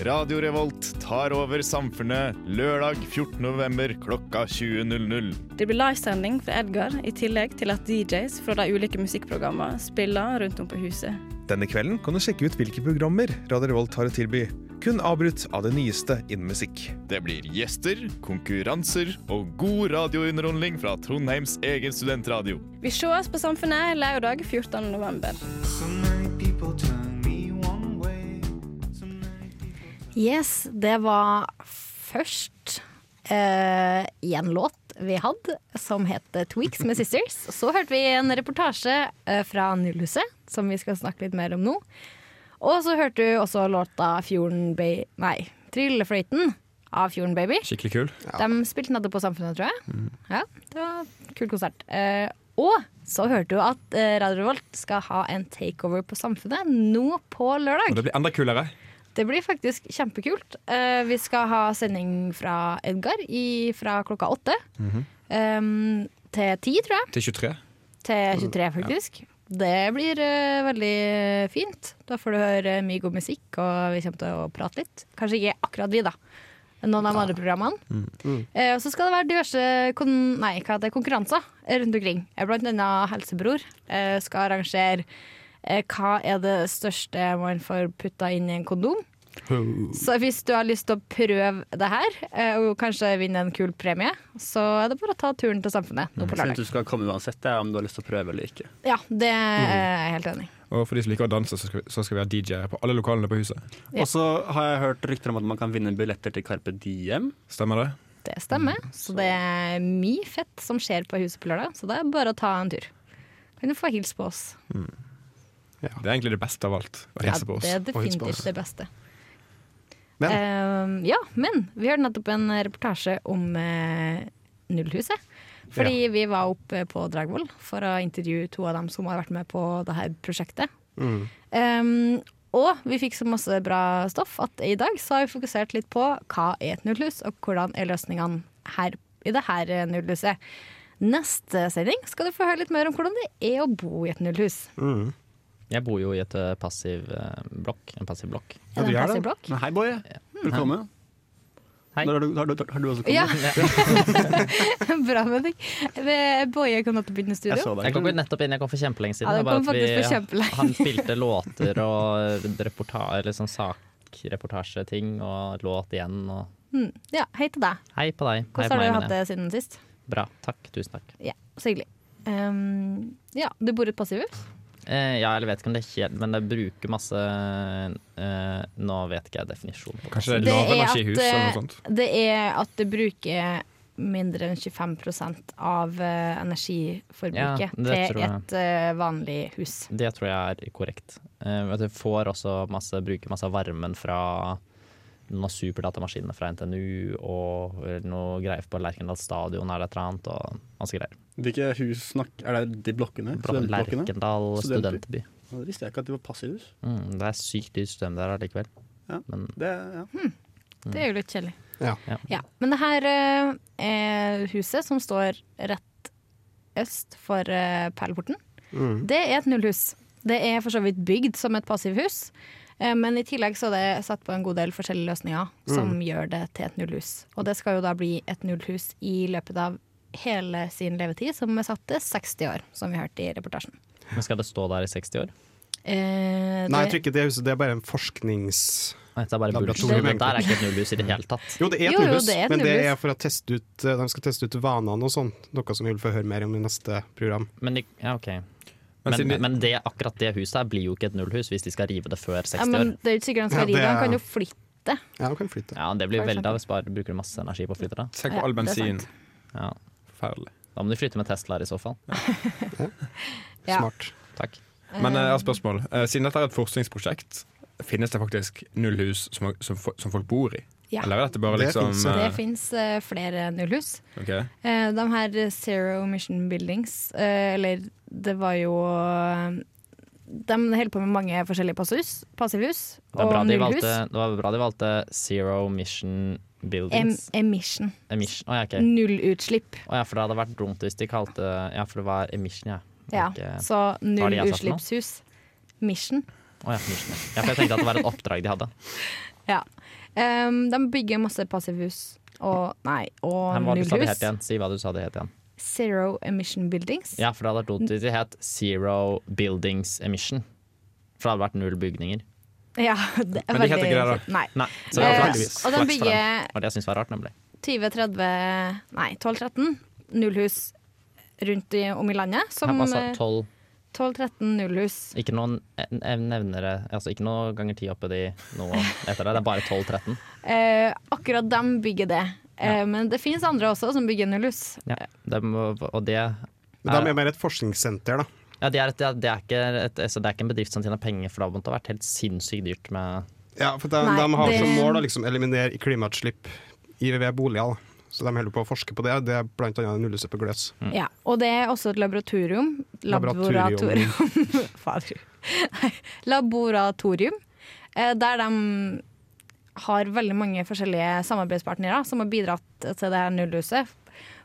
Speaker 11: Radio Revolt tar over samfunnet lørdag 14. november klokka 20.00.
Speaker 12: Det blir livesending fra Edgar, i tillegg til at DJs fra de ulike musikkprogrammene spiller rundt om på huset.
Speaker 13: Denne kvelden kan du sjekke ut hvilke programmer Radio Revolt har å tilby. Kun avbrutt av det nyeste innen musikk.
Speaker 11: Det blir gjester, konkurranser og god radiounderholdning fra Trondheims egen studentradio.
Speaker 12: Vi ses på Samfunnet lørdag 14. november.
Speaker 1: Yes, det var først eh, en låt vi hadde som het Tweaks med Sisters. Så hørte vi en reportasje eh, fra Nullhuset, som vi skal snakke litt mer om nå. Og så hørte du også låta Fjorden Bay... Nei, Trillefløyten av Fjorden Baby.
Speaker 4: Skikkelig kul.
Speaker 1: De spilte nettopp på Samfunnet, tror jeg. Ja, Det var en kul konsert. Eh, og så hørte du at eh, Radio Revolt skal ha en takeover på Samfunnet nå på lørdag.
Speaker 4: Og det blir enda kulere.
Speaker 1: Det blir faktisk kjempekult. Eh, vi skal ha sending fra Edgar i, fra klokka åtte em, til ti, tror jeg.
Speaker 4: Til 23.
Speaker 1: Til 23, faktisk. Det blir eh, veldig fint. Da får du høre mye god musikk, og vi kommer til å prate litt. Kanskje ikke akkurat vi, da. Noen av de andre programmene. Eh, og så skal det være diverse kon nei, hva heter det, konkurranser rundt omkring. Eh, Blant annet Helsebror eh, skal arrangere eh, hva er det største man får putta inn i en kondom. Så hvis du har lyst til å prøve det her, eh, og kanskje vinne en kul premie, så er det bare å ta turen til Samfunnet nå på
Speaker 3: Jeg synes
Speaker 1: lørdag.
Speaker 3: du skal komme uansett, det er om du har lyst til å prøve eller ikke.
Speaker 1: Ja, det er jeg helt enig i.
Speaker 4: Og for de som liker å danse, så skal vi, så skal vi ha DJ-er på alle lokalene på huset.
Speaker 1: Ja.
Speaker 3: Og så har jeg hørt rykter om at man kan vinne billetter til Carpe Diem.
Speaker 4: Stemmer det?
Speaker 1: Det stemmer. Så det er mye fett som skjer på huset på lørdag, så det er bare å ta en tur. Kan du få hilse på oss?
Speaker 4: Det er egentlig det beste av alt. Å hilse på oss.
Speaker 1: det er
Speaker 2: og hilse på
Speaker 1: definitivt
Speaker 2: oss.
Speaker 1: det beste.
Speaker 2: Men-
Speaker 1: Eh, ja, men vi hørte nettopp en reportasje om eh, Nullhuset. Fordi vi var oppe på Dragvoll for å intervjue to av dem som har vært med på det her prosjektet. Eh, og vi fikk så masse bra stoff at i dag så har vi fokusert litt på hva er et nullhus, og hvordan er løsningene her i det her eh, nullhuset. Neste sending skal du få høre litt mer om hvordan det er å bo i et nullhus.
Speaker 2: Mm,
Speaker 7: Jeg bor jo i et eh, passiv eh, blokk. En passiv blokk.
Speaker 1: Er det en passiv blokk?
Speaker 3: Men hei, Boje. Velkommen.
Speaker 7: Hei.
Speaker 3: Har du, har, du, har du også kommet?
Speaker 1: Ja. (laughs) Bra med deg. Ved- Boje kom nettopp inn i
Speaker 3: Jeg
Speaker 1: studio.
Speaker 3: så deg.
Speaker 7: Jeg kom jo nettopp inn, jeg kom for kjempelenge siden.
Speaker 1: Ja, du
Speaker 7: det var
Speaker 1: kom
Speaker 7: at
Speaker 1: faktisk for kjempelenge.
Speaker 7: Han spilte låter og reporta eller sånn sakreportasjeting og låt igjen. Og
Speaker 1: Mm, Ja, hei til deg.
Speaker 7: hei på deg. Hei på
Speaker 1: Hvordan har
Speaker 7: meg,
Speaker 1: du
Speaker 7: mener
Speaker 1: hatt
Speaker 7: jeg.
Speaker 1: det siden sist?
Speaker 7: Bra. Takk. Tusen takk.
Speaker 1: Ja, Så hyggelig. Um, ja, du bor i et passivhus?
Speaker 7: Eh, ja, eller vet ikke om det er helt Men det bruker masse eh, Nå vet ikke jeg definisjonen. på
Speaker 4: Kanskje det
Speaker 1: Det
Speaker 4: er lav
Speaker 1: er at,
Speaker 4: energihus eller noe
Speaker 1: eh,
Speaker 4: sånt.
Speaker 1: Det er at du bruker mindre enn 25 av eh, energiforbruket
Speaker 7: Ja, det
Speaker 1: til
Speaker 7: tror jeg.
Speaker 1: et eh, vanlig hus.
Speaker 7: Det tror jeg er korrekt. Eh, at du får også masse, bruker masse av varmen fra noen av superdatamaskinene fra NTNU og noe greier på Lerkendal stadion eller et eller annet, og masse greier.
Speaker 3: Hvilke hus snakk Er det de blokkene?
Speaker 7: Blant annet
Speaker 3: Studentblokkene?
Speaker 7: Lerkendal
Speaker 3: Studentby.
Speaker 7: studentby.
Speaker 3: Ja, Det visste jeg ikke at de var passivhus.
Speaker 7: Mm, det er sykt dyrt strøm der allikevel.
Speaker 3: Ja.
Speaker 7: Men
Speaker 3: Det, ja.
Speaker 1: Det er jo litt kjedelig.
Speaker 2: Ja.
Speaker 7: Mm. Ja.
Speaker 1: Men det her eh, er huset som står rett øst for eh, Perleporten,
Speaker 2: mm.
Speaker 1: det er et nullhus. Det er for så vidt bygd som et passivhus, eh, men i tillegg så er det satt på en god del forskjellige løsninger som gjør det til et nullhus. Og det skal jo da bli et nullhus i løpet av hele sin levetid, som er satt til 60 år, som vi hørte i reportasjen.
Speaker 7: men skal det stå der i 60 år?
Speaker 1: Eh,
Speaker 2: Nei, jeg
Speaker 1: det-
Speaker 2: tror ikke det er huset, det er bare en forsknings...
Speaker 7: Det er bare
Speaker 2: bullshit.
Speaker 7: Det der er ikke et nullhus i det hele tatt.
Speaker 2: Jo, det er et
Speaker 1: Jo, jo,
Speaker 2: nullhus,
Speaker 1: det er et
Speaker 2: men det
Speaker 1: nullhus.
Speaker 2: er for å teste ut eh, de skal teste ut vanene og sånn. Noe som vi vil få høre mer om i neste program.
Speaker 7: Men, de- ja, ok.
Speaker 2: siden
Speaker 7: men,
Speaker 2: de-
Speaker 7: men det, akkurat det huset her blir jo ikke et nullhus hvis de skal rive det før 60
Speaker 1: ja,
Speaker 7: år.
Speaker 1: men det er jo ikke sikkert han skal
Speaker 7: Ja, det
Speaker 1: rive, han
Speaker 7: er-
Speaker 1: kan jo flytte.
Speaker 2: Ja, han kan flytte.
Speaker 7: Ja, det blir
Speaker 1: For
Speaker 7: veldig
Speaker 1: eksempel.
Speaker 7: av hvis bare bruker du masse energi på å flytte det.
Speaker 1: Tenk på Ja, all det er bensin. sant.
Speaker 7: Ja. Forferdelig. Da må du flytte med Teslaer i så fall.
Speaker 1: Ja.
Speaker 2: Smart.
Speaker 7: Takk.
Speaker 4: Men eh, jeg har et spørsmål. Eh, Siden dette er et forskningsprosjekt, finnes det faktisk nullhus som, som, fo- som folk bor i?
Speaker 1: Ja.
Speaker 4: Eller er dette bare
Speaker 2: Det
Speaker 4: liksom
Speaker 2: finnes,
Speaker 1: Det
Speaker 4: eh,
Speaker 1: fins eh, flere nullhus.
Speaker 4: ok.
Speaker 1: Eh, de her eh, Zero Mission Buildings, eh, eller det var jo eh, De holder på med mange forskjellige passivhus, passivhus
Speaker 7: Det, var
Speaker 1: og
Speaker 7: bra de
Speaker 1: nullhus.
Speaker 7: valgte, det var bra de valgte Zero Mission
Speaker 1: Em
Speaker 7: Buildings.
Speaker 1: emission.
Speaker 7: Emission. Å, ja,
Speaker 1: Mm.
Speaker 7: ok.
Speaker 1: Nullutslipp.
Speaker 7: Å, ja, for det hadde vært dumt hvis de kalte Ja, for det var Emission, ja.
Speaker 1: Ja,
Speaker 7: Ikke-
Speaker 1: så
Speaker 7: Hva har de erstattet nå?
Speaker 1: nullutslippshus. Mission.
Speaker 7: Å, ja, Mission. ja. Ja, for jeg tenkte at det var et oppdrag de hadde.
Speaker 1: Ja. Em, de bygger masse passivhus og Nei, og
Speaker 7: Men hva du sa det het
Speaker 1: nullhus.
Speaker 7: igjen? Si hva du sa det het igjen.
Speaker 1: Zero Emission Buildings.
Speaker 7: Ja, for det hadde vært dumt hvis de het Zero Buildings Emission. For det hadde vært null bygninger.
Speaker 1: (laughs) Ja, det er
Speaker 7: Men de heter
Speaker 1: veldig
Speaker 7: ikke det, da?
Speaker 1: Nei.
Speaker 7: Nei. Så det
Speaker 1: Eh,
Speaker 7: var
Speaker 1: og de
Speaker 7: flaks. Flaks for dem.
Speaker 1: bygger-
Speaker 7: Det var det jeg syntes var rart, nemlig.
Speaker 1: 20-30, nei 12-13 nullhus rundt i, om i landet. Som
Speaker 7: Her passet
Speaker 1: eh,
Speaker 7: 12
Speaker 1: 12-13 nullhus.
Speaker 7: Ikke noen en- en nevnere Altså ikke noe ganger ti oppi de noe etter det. Det er bare
Speaker 1: (laughs)
Speaker 7: 12-13.
Speaker 1: Eh, akkurat dem bygger det. Eh, Men det finnes andre også som bygger nullhus.
Speaker 7: Ja. Det må- og det er,
Speaker 2: Men da er det mer et forskningssenter, da.
Speaker 7: ja, det, er et, det, er, det, er ikke et, altså, det er ikke en bedrift som tjener penger, for det måtte ha vært helt sinnssykt dyrt med
Speaker 2: Ja, for de,
Speaker 7: Nei,
Speaker 2: de har
Speaker 7: det-
Speaker 2: som mål å liksom eliminere klimautslipp i ved boliger. Da. Så de holder på å forske på det. Det er blant annet nullhuset på Gløs.
Speaker 1: Ja, og det er også et laboratorium. (laughs) Laboratorium. Fader. Nei, Laboratorium. eh, Der de har veldig mange forskjellige samarbeidspartnere som har bidratt til det her nullhuset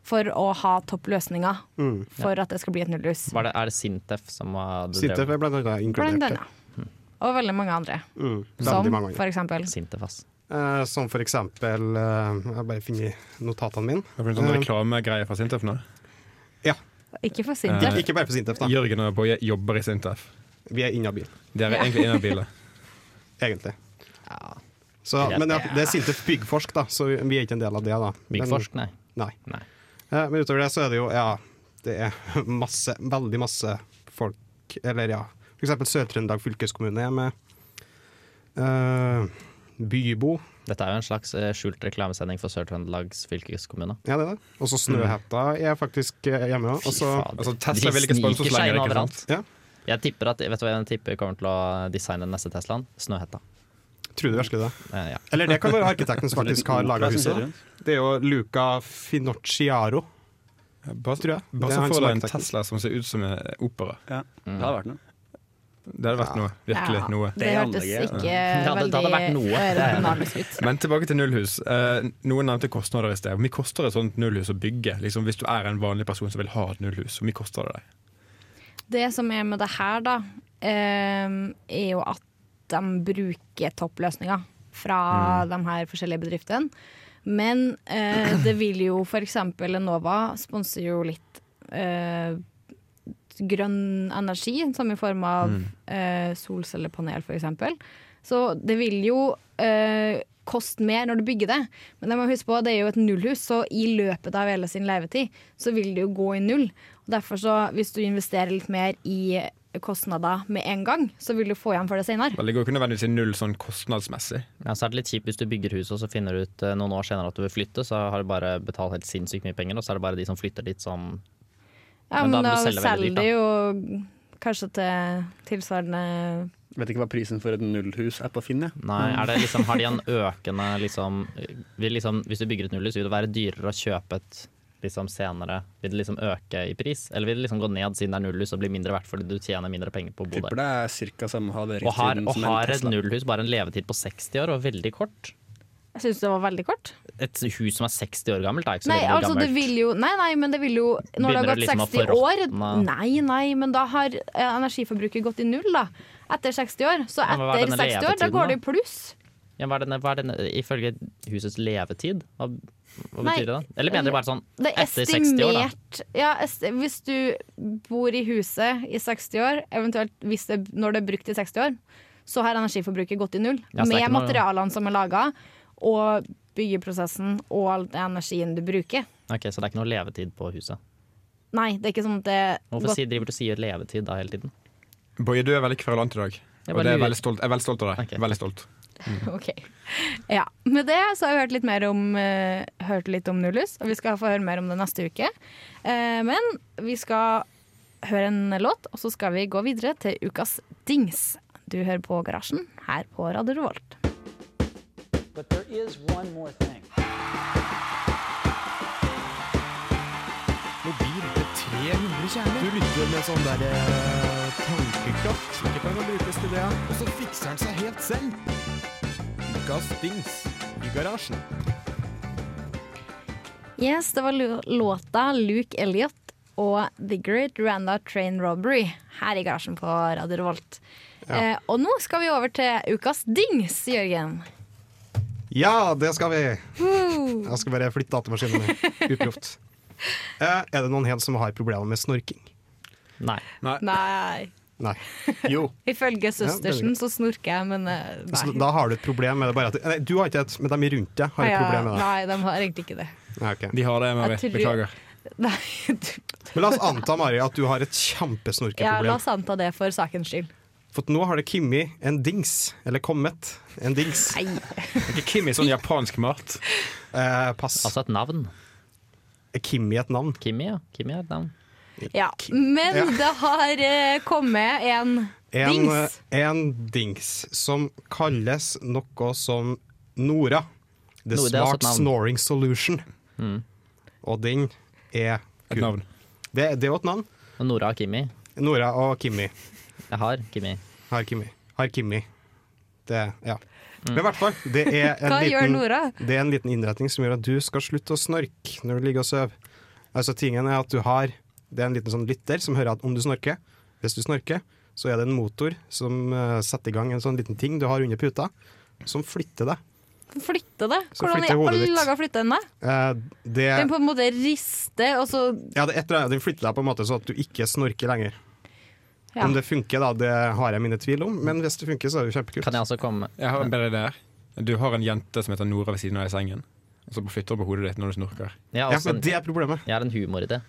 Speaker 1: for å ha topp løsninger
Speaker 10: (laughs)
Speaker 7: Mm.
Speaker 1: for at det skal bli et nullhus.
Speaker 7: Var det, Er det Sintef som har drevet-
Speaker 2: Sintef er blant annet
Speaker 1: Blant
Speaker 2: inkludert. der.
Speaker 1: annet. Og veldig mange andre.
Speaker 2: Mm,
Speaker 1: Som
Speaker 2: veldig mange andre.
Speaker 1: for eksempel
Speaker 7: Sintef, ass.
Speaker 2: Eh, som for eksempel eh, Jeg har bare funnet notatene mine.
Speaker 4: Har du en sånn
Speaker 2: Eh,
Speaker 4: reklamegreie fra Sintef nå?
Speaker 1: Ikke for Sintef.
Speaker 4: Eh,
Speaker 2: Ikke bare på Sintef, da.
Speaker 4: Jørgen og Boje jobber i Sintef.
Speaker 2: Vi er inhabil.
Speaker 4: Dere er
Speaker 1: Ja.
Speaker 4: egentlig
Speaker 2: (laughs)
Speaker 4: inhabile.
Speaker 2: Egentlig. Så, men ja, det er Sintef Byggforsk, da, så vi er ikke en del av det. da Men-
Speaker 7: Byggforsk, nei.
Speaker 2: Nei. Eh, Men utover det så er det jo, ja, det er (laughs) masse, veldig masse folk, eller ja, for eksempel Sør-Trøndelag fylkeskommune er med eh, Bybo.
Speaker 7: Dette er jo en slags eh, skjult reklamesending for Sør-Trøndelags fylkeskommune. Mm.
Speaker 2: Ja, det er det. Og så Snøhetta er faktisk eh, hjemme òg.
Speaker 4: Altså,
Speaker 7: De sniker seg inn overalt. Jeg tipper at, vet du hva jeg tipper kommer til å designe den neste Teslaen? Snøhetta.
Speaker 2: Tror du virkelig det?
Speaker 7: Eh, ja.
Speaker 2: Eller det kan være arkitekten som
Speaker 7: (laughs)
Speaker 2: faktisk har laga huset. da. Det er jo Luca Finocchiaro. Tror jeg. Det
Speaker 4: Bare
Speaker 2: er
Speaker 4: så
Speaker 2: han
Speaker 4: får
Speaker 2: som
Speaker 4: du
Speaker 2: er
Speaker 4: en
Speaker 2: arkitekten.
Speaker 4: Tesla som ser ut som en opera.
Speaker 3: Det hadde vært noe.
Speaker 4: Det hadde vært noe. Virkelig
Speaker 1: Ja,
Speaker 4: noe.
Speaker 1: Det hørtes ikke
Speaker 7: Det hadde- det hadde vært noe.
Speaker 1: Eh, veldig aerodynamisk ut.
Speaker 4: Men tilbake til nullhus. Eh, noen nevnte kostnader i sted. Hvor mye koster et sånt nullhus å bygge? Liksom, hvis du er en vanlig person som vil ha et nullhus, hvor mye koster det deg?
Speaker 1: Det som er med det her, da, ehm, er jo at de bruker toppløsninger
Speaker 7: Mm.
Speaker 1: fra de her forskjellige bedriftene. Men eh, det vil jo f.eks. Enova sponser jo litt eh, grønn energi, som i form av
Speaker 10: Mm.
Speaker 1: eh, solcellepanel f.eks. Så det vil jo eh, koste mer når du bygger det. Men det må huske på, det er jo et nullhus, så i løpet av hele sin levetid så vil det jo gå i null. Og derfor så, hvis du investerer litt mer i kostnader med en gang, så vil du få igjen for det senere.
Speaker 4: Vel, det går ikke nødvendigvis i null sånn kostnadsmessig.
Speaker 7: Ja, så er det litt kjipt hvis du bygger huset og så finner du ut eh, noen år senere at du vil flytte, så har du bare betalt helt sinnssykt mye penger, og så er det bare de som flytter dit som
Speaker 1: Ja,
Speaker 7: Men
Speaker 1: men,
Speaker 7: da
Speaker 1: da
Speaker 7: må du selge veldig
Speaker 1: selger
Speaker 7: dyrt,
Speaker 1: du jo kanskje til tilsvarende
Speaker 3: Vet ikke hva prisen for et nullhus er på Finn, jeg.
Speaker 7: Nei, er det liksom, har de en økende liksom, vil liksom Hvis du bygger et nullhus, vil det være dyrere å kjøpe et liksom senere? Vil det liksom øke i pris, eller vil det liksom gå ned siden det er nullhus og bli mindre verdt fordi du tjener mindre penger på å bo
Speaker 3: Tipper
Speaker 7: der?
Speaker 3: det er ca. samme
Speaker 7: Og har,
Speaker 3: halveringstiden
Speaker 7: og
Speaker 3: som en
Speaker 7: har et
Speaker 3: Tesla.
Speaker 7: nullhus bare en levetid på 60 år, og veldig kort?
Speaker 1: Jeg syns det var veldig kort.
Speaker 7: Et hus som er 60 år gammelt, er ikke så
Speaker 1: Nei,
Speaker 7: veldig
Speaker 1: altså det
Speaker 7: gammelt.
Speaker 1: vil jo Nei, nei, men det vil jo Når det har
Speaker 7: Begynner
Speaker 1: gått
Speaker 7: det liksom å
Speaker 1: 60 år
Speaker 7: forråtne?
Speaker 1: Nei, nei, men da har eh, energiforbruket gått i null, da. Etter 60 år. Så
Speaker 7: Ja, men hva er
Speaker 1: etter
Speaker 7: denne
Speaker 1: 60 år, da
Speaker 7: levetiden,
Speaker 1: går det i pluss.
Speaker 7: Ja, hva er denne, hva er denne, ifølge husets levetid? Hva, hva
Speaker 1: Nei,
Speaker 7: betyr det? da? Eller mener dere bare sånn
Speaker 1: Det er
Speaker 7: etter 60 år, da?
Speaker 1: estimert- Ja, esti- hvis du bor i huset i 60 år, eventuelt hvis det, når det er brukt i 60 år, (laughs) så har energiforbruket gått i null.
Speaker 7: Ja, så det er
Speaker 1: med
Speaker 7: ikke noe-
Speaker 1: materialene som er laga, og byggeprosessen og all den energien du bruker.
Speaker 7: Ok, Så det er ikke noe levetid på huset?
Speaker 1: Nei, det er ikke sånn at det
Speaker 7: Hvorfor sier- driver du og sier levetid da hele tiden?
Speaker 4: Boje, du er veldig kverulant i dag.
Speaker 7: Jeg
Speaker 4: Og
Speaker 7: bare
Speaker 4: det er jeg
Speaker 7: lurer.
Speaker 4: veldig stolt, jeg er veldig stolt av deg. Veldig stolt.
Speaker 1: (laughs) Ok. Ja. Med det så har vi hørt litt mer om eh, Hørt litt om Nullus, og vi skal få høre mer om det neste uke. Eh, men vi skal høre en låt, og så skal vi gå videre til ukas dings. Du hører på Garasjen her på Radio Revolt.
Speaker 14: But there is one more thing.
Speaker 13: Mobil til 300 kjerner. Du lytter med sånn der tankekraft. Ikke kan brukes til det. Og så fikser han seg helt selv. Ukas dings i garasjen.
Speaker 1: Yes, det var lu- låta Luke Elliot og The Great Randa Train Robbery her i Garasjen på Radio Revolt. Eh, og nå skal vi over til ukas dings, Jørgen.
Speaker 2: Ja, det skal vi!
Speaker 1: Woo!
Speaker 2: Jeg skal bare flytte datamaskinen
Speaker 1: (laughs)
Speaker 2: min. Uproft. Eh, er det noen her som har problemer med snorking?
Speaker 7: Nei.
Speaker 1: Nei.
Speaker 2: Nei. Jo.
Speaker 1: Ifølge
Speaker 2: Ja, det er
Speaker 1: søstersen så snorker jeg, men eh, nei.
Speaker 2: Så da har du et problem med det bare at Nei, du har ikke et, men de rundt deg har et
Speaker 1: Ja,
Speaker 2: problem med det.
Speaker 1: Nei, de har egentlig ikke det.
Speaker 2: Nei, ok. De har det,
Speaker 1: Mari. Jeg tror- Beklager. Nei,
Speaker 2: Men la oss anta, Mari, at du har et
Speaker 1: ja,
Speaker 2: kjempesnorkeproblem.
Speaker 1: La oss anta det for sakens skyld.
Speaker 2: For at nå har det kommet en dings. Eller kommet en dings. Ikke Kimi sånn japansk mat? pass.
Speaker 7: Altså et navn.
Speaker 2: Kimi et navn?
Speaker 7: Kimi, ja. Kimi er et navn.
Speaker 1: Ja. Men
Speaker 2: Ja.
Speaker 1: det har eh, kommet en,
Speaker 2: En eh,
Speaker 1: dings.
Speaker 2: en dings som kalles noe som Nora. The
Speaker 7: Nora, det er også
Speaker 2: Smart
Speaker 7: et navn. Mm.
Speaker 2: Snoring Solution. Og den er kul. Et navn. Det, det er jo et navn.
Speaker 7: Og Nora og Kimi.
Speaker 2: Nora og Kimi.
Speaker 7: Jeg har Kimi.
Speaker 2: Har Kimi. Har Kimi. Det, ja.
Speaker 7: Mm.
Speaker 2: Men i hvert fall, det er en,
Speaker 1: Hva gjør
Speaker 2: liten,
Speaker 1: Nora?
Speaker 2: det er en liten innretning som gjør at du skal slutte å snorke når du ligger og sover. Altså, tingen er at du har Det er en liten sånn lytter som hører at om du snorker. Hvis du snorker, så er det en motor som eh, setter i gang en sånn liten ting du har under puta, som flytter deg.
Speaker 1: Flytte det?
Speaker 2: Så
Speaker 1: Hvordan i
Speaker 2: flytter hodet
Speaker 1: alle
Speaker 2: ditt.
Speaker 1: dager flytter den det?
Speaker 2: Eh, det,
Speaker 1: Den på en måte rister, og så
Speaker 2: ja, det er etter, den flytter deg på en måte sånn at du ikke snorker lenger.
Speaker 1: Ja.
Speaker 2: Om det funker, da, det har jeg mine tvil om, men hvis det funker, så er det jo kjempekult.
Speaker 7: Kan jeg også komme
Speaker 4: Jeg har en bedre idé her. Du har en jente som heter Nora ved siden av deg i sengen. Og så flytter hun på hodet ditt når du snorker.
Speaker 7: Jeg har også en-
Speaker 2: problemet.
Speaker 7: Jeg har en humoridé.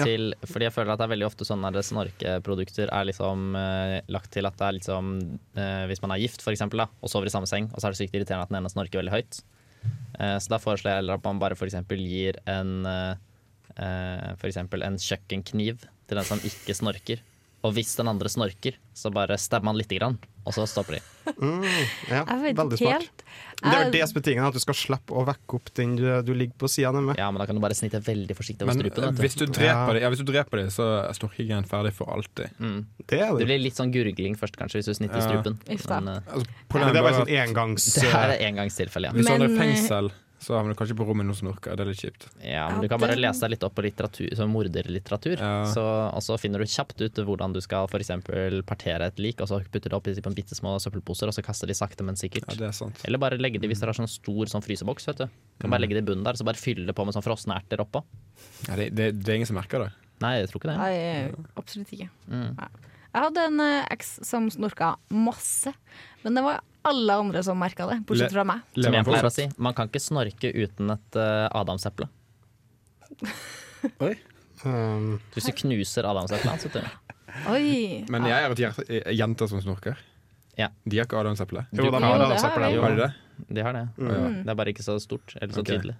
Speaker 7: Til, Fordi jeg føler at det er veldig ofte sånne der snorkeprodukter er liksom eh, lagt til at det er liksom eh, Hvis man er gift, for eksempel, da, og sover i samme seng, og så er det sykt irriterende at den ene snorker veldig høyt. Eh, så da foreslår jeg heller at man bare for eksempel gir en eh, eh, For eksempel en kjøkkenkniv til den som ikke snorker. Og hvis den andre snorker, så bare stabber man lite grann, og så stopper de.
Speaker 2: Mm, ja,
Speaker 1: Jeg vet
Speaker 2: veldig
Speaker 1: ikke
Speaker 2: smart.
Speaker 1: helt.
Speaker 2: Men Det er
Speaker 1: Jeg-
Speaker 2: vel det som er tingen, at du skal slippe å vekke opp den du, du ligger på sida med.
Speaker 7: Ja, men da kan du bare snitte veldig forsiktig
Speaker 4: Men eh, hvis du dreper dem, ja, hvis du dreper dem, så er snorkingen ferdig for alltid.
Speaker 7: Mm.
Speaker 2: Det, er
Speaker 7: Det blir litt sånn gurgling først, kanskje, hvis du snitter
Speaker 4: Ja.
Speaker 7: strupen.
Speaker 1: Uff da.
Speaker 7: Men, eh,
Speaker 4: Altså, problemet
Speaker 2: Men det er bare
Speaker 4: at-
Speaker 2: sånn engangs-
Speaker 7: Det er et engangstilfelle, ja.
Speaker 4: Hvis du
Speaker 7: Men,
Speaker 4: er i
Speaker 7: eh,
Speaker 4: fengsel, så havner du kanskje på rommet med noen snorker. Det er litt kjipt.
Speaker 7: Ja, men Du kan bare lese deg litt opp på litteratur, sånn morderlitteratur, så, og så finner du kjapt ut hvordan du skal for eksempel partere et lik, og så putter du opp i på en bitte små søppelposer, og så kaster de sakte, men sikkert. Eller bare legge det hvis dere har sånn stor sånn fryseboks. vet du. Du kan bare legge det i bunnen der, så bare fylle det på med sånn frosne erter oppå.
Speaker 4: Ja, det, det, det er ingen som merker det.
Speaker 7: Nei, jeg tror ikke det.
Speaker 1: Nei, absolutt ikke.
Speaker 7: Mm.
Speaker 1: Nei. Jeg hadde en eh, eks som snorka masse, men det var alle andre som merka det, bortsett fra meg.
Speaker 7: Som jeg pleier å si,
Speaker 1: fortsatt?
Speaker 7: man kan ikke snorke uten et eh, adamseple.
Speaker 3: Oi.
Speaker 7: Hvis du knuser adamseplet, så
Speaker 1: Oi.
Speaker 4: Men jeg er et hjerte, eh, jenter som snorker.
Speaker 7: Ja.
Speaker 4: De har ikke adamseple.
Speaker 7: Du Jo, de kan- har Jo, det har adamseple, vi. de.
Speaker 4: Har de det?
Speaker 7: De har det.
Speaker 4: Å, ja.
Speaker 7: Det er bare ikke så stort eller så
Speaker 4: Ok.
Speaker 7: tydelig.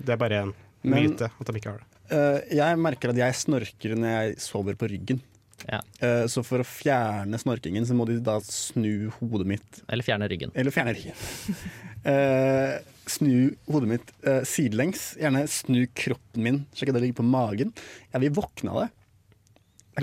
Speaker 2: Det er bare en
Speaker 3: Men-
Speaker 2: myte at de ikke har det.
Speaker 3: Eh, jeg merker at jeg snorker når jeg sover på ryggen. Eh, så for å fjerne snorkingen, så må de da snu hodet mitt
Speaker 7: Eller fjerne ryggen.
Speaker 3: Eller fjerne ryggen. (laughs) Eh, snu hodet mitt eh, sidelengs. Gjerne snu kroppen min, slik at det ligger på magen. Jeg vil våkne av det. Er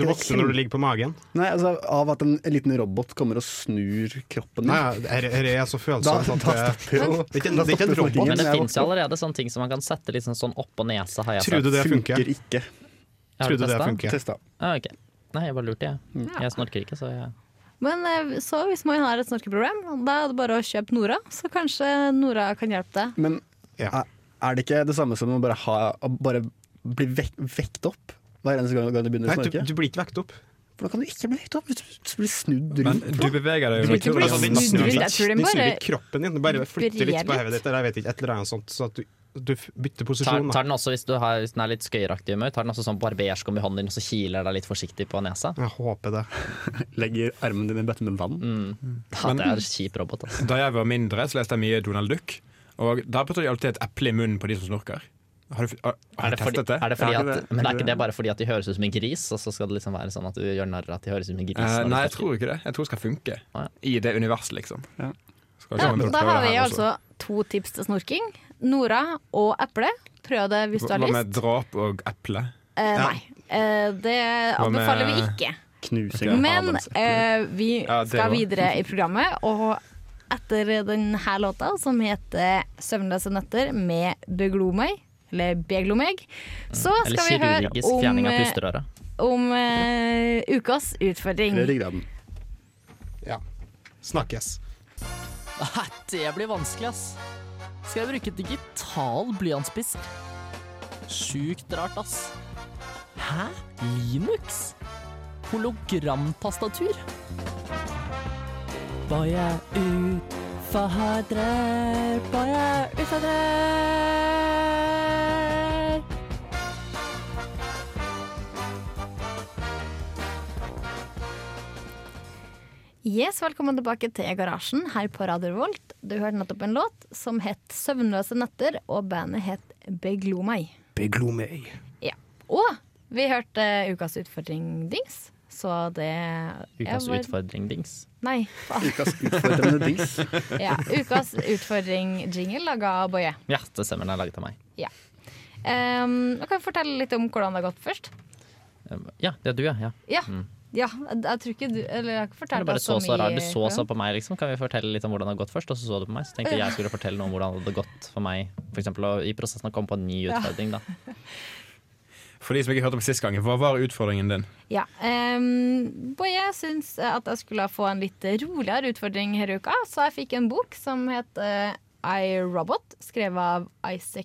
Speaker 2: Du
Speaker 3: ikke det
Speaker 2: våkner når du ligger på magen.
Speaker 3: Nei, altså Av at en liten robot kommer og snur kroppen
Speaker 2: Nei, er, er jeg så følsom
Speaker 3: Da-
Speaker 2: at eh,
Speaker 3: da stopper jo-
Speaker 2: Det er ikke en-
Speaker 3: da
Speaker 2: det er ikke en
Speaker 3: stopper
Speaker 2: robot.
Speaker 3: snorkingen.
Speaker 7: Men det
Speaker 3: Jeg
Speaker 7: fins jo
Speaker 3: våkner.
Speaker 7: allerede sånne ting som man kan sette liksom sånn oppå nesa. Har jeg
Speaker 2: Tror du
Speaker 7: sett.
Speaker 2: det funker? Funker
Speaker 3: ikke.
Speaker 7: Har
Speaker 2: Tror du det
Speaker 7: testet?
Speaker 2: funker? Testet.
Speaker 4: Mm.
Speaker 7: Ah, ok. Nei, jeg bare lurte, jeg. Jeg snorker ikke, så jeg
Speaker 1: Men eh, så hvis man har et snorkeproblem, da er det bare å kjøpe Nora, så kanskje Nora kan hjelpe deg.
Speaker 3: Men er, er det ikke det samme som å bare, ha, å bare bli vek, vekt opp hver eneste gang gang du begynner å
Speaker 2: Nei, du,
Speaker 3: snorke?
Speaker 2: du blir ikke vekt opp.
Speaker 3: For da kan du ikke bli vekt opp hvis du blir snudd
Speaker 4: Men
Speaker 3: rundt.
Speaker 4: du beveger deg
Speaker 2: Altså, de
Speaker 4: jo ikke.
Speaker 2: snur-
Speaker 4: Altså,
Speaker 2: de
Speaker 4: den
Speaker 2: snur
Speaker 4: snur
Speaker 2: litt-
Speaker 4: litt.
Speaker 1: Jeg tror den
Speaker 2: de snur
Speaker 1: bare
Speaker 2: litt kroppen din. Bare flytter litt på
Speaker 1: vibrerer
Speaker 2: hodet ditt, eller jeg vet ikke, et eller annet sånt, så at du, du f- bytter
Speaker 7: Tar,
Speaker 2: posisjon. da.
Speaker 7: tar den også, hvis, du har, hvis den er litt skøyeraktig i humør, tar den også sånn barberskum i hånden din, og så kiler deg litt forsiktig på nesa.
Speaker 2: Jeg håper det.
Speaker 3: Legger armen din i en bøtte med vann.
Speaker 7: Mm. Ja, det er kjip robot, altså.
Speaker 4: Da jeg var mindre, så leste jeg mye Donald Duck. Og der putter de alltid et eple i munnen på de som snorker. Har du, har, har
Speaker 7: Er
Speaker 4: du
Speaker 7: det fordi,
Speaker 4: testet det?
Speaker 7: er det fordi
Speaker 4: Ja,
Speaker 7: at, men er ikke det bare fordi at de høres ut som en gris, og så skal det liksom være sånn at du gjør narr av at de høres ut som en gris?
Speaker 4: Eh,
Speaker 7: når du
Speaker 4: nei, jeg
Speaker 7: snakker?
Speaker 4: tror ikke det. Jeg tror det skal funke. I det universet, liksom. Skal
Speaker 1: Ja,
Speaker 4: ikke man
Speaker 1: da
Speaker 4: prøve
Speaker 1: har
Speaker 4: det
Speaker 1: vi
Speaker 4: her
Speaker 1: altså
Speaker 4: også?
Speaker 1: to tips til snorking. Nora og eple. Prøv det hvis du har
Speaker 4: Hva med
Speaker 1: lyst.
Speaker 4: drap og eple?
Speaker 1: Eh, nei, eh, det
Speaker 4: Hva med-
Speaker 1: anbefaler vi ikke.
Speaker 3: Knusing
Speaker 1: Men eh, vi
Speaker 4: Ja, det
Speaker 1: skal
Speaker 4: også.
Speaker 1: videre i programmet, og etter denne låta, som heter 'Søvnløse netter' med Beglomeg, eller Beglomeg, så
Speaker 7: Mm. Eller
Speaker 1: skal vi høre
Speaker 7: kirurgisk
Speaker 1: om,
Speaker 7: fjerning av
Speaker 1: eh,
Speaker 7: pusterøret.
Speaker 1: om eh, ukas utfordring.
Speaker 3: Eller ryggraden.
Speaker 2: Ja. Snakkes.
Speaker 15: Nei, det blir vanskelig, ass. Skal jeg bruke digital blyantspiss? Sjukt rart, ass. Hæ? Linux? Hologramtastatur? Var jeg utfadrer? Var jeg utfadrer?
Speaker 1: Yes, Velkommen tilbake til Garasjen her på Radio Revolt. Du hørte nettopp en låt som het 'Søvnløse netter', og bandet het Beglo meg.
Speaker 2: Beglo meg.
Speaker 1: Ja. Og vi hørte Ukas utfordring Dings, så det
Speaker 7: Ukas
Speaker 1: jeg var-
Speaker 7: utfordring, dings.
Speaker 1: Nei, faen.
Speaker 3: Ukas utfordrende dings.
Speaker 1: Ja, ukas utfordring-jingle laga av Boje.
Speaker 7: Ja, det stemmer. Den er laget av meg.
Speaker 1: Ja. Um, kan du fortelle litt om hvordan det har gått først?
Speaker 7: Um, Ja, det er du, ja. ja.
Speaker 1: Ja.
Speaker 7: Mm.
Speaker 1: ja jeg, jeg tror ikke du Eller jeg har ikke
Speaker 7: Du
Speaker 1: fortalt
Speaker 7: bare
Speaker 1: deg
Speaker 7: så så
Speaker 1: mye
Speaker 7: rar. Du så så
Speaker 1: før.
Speaker 7: på meg, liksom. Kan vi fortelle litt om hvordan det har gått først? Og så så du på meg. Så tenkte jeg jeg skulle fortelle noe om hvordan det hadde gått for meg. For eksempel, å- i prosessen å komme på en ny
Speaker 1: Ja.
Speaker 7: utfordring, da.
Speaker 4: For de som ikke hørte om sist gang, hva var utfordringen din?
Speaker 1: Ja. Um, Boje syns at jeg skulle få en litt roligere utfordring her i uka, så jeg fikk en bok som het eh, I Robot, skrevet av Isaac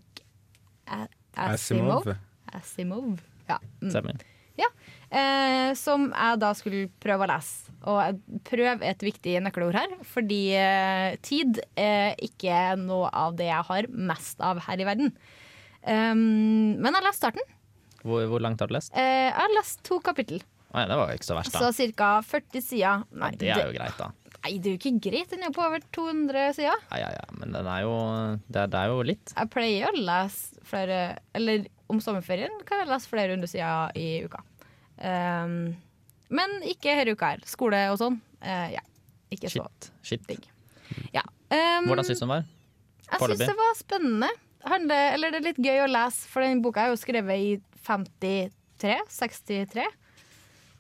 Speaker 1: A- Asimov.
Speaker 7: Asimov.
Speaker 1: Asimov. Ja. Mm.
Speaker 7: Stemmer.
Speaker 1: Ja, eh, som jeg da skulle prøve å lese. Og jeg- prøv er et viktig nøkkelord her, fordi eh, tid er ikke noe av det jeg har mest av her i verden. Um, men jeg har lest starten.
Speaker 7: Hvor, hvor langt har du lest?
Speaker 1: Eh, jeg har lest to kapittel,
Speaker 7: Nei, det var jo ikke så verst, da.
Speaker 1: så ca. 40 sider. Nei,
Speaker 7: Det er jo greit, da.
Speaker 1: Nei, det er jo ikke greit, den er på over 200 sider.
Speaker 7: Ja, ja, ja. Men den er jo, det, er- det er jo litt.
Speaker 1: Jeg pleier å lese flere Eller om sommerferien kan jeg lese flere hundre sider i uka. Um, men ikke her i uka her. Skole og sånn. eh, ja. Ikke så
Speaker 7: Shit.
Speaker 1: ja. um,
Speaker 7: Hvordan syns du den var?
Speaker 1: Jeg syns det var spennende. Handler, eller det er litt gøy å lese, for den boka er jo skrevet i 53? 63?
Speaker 7: Lenge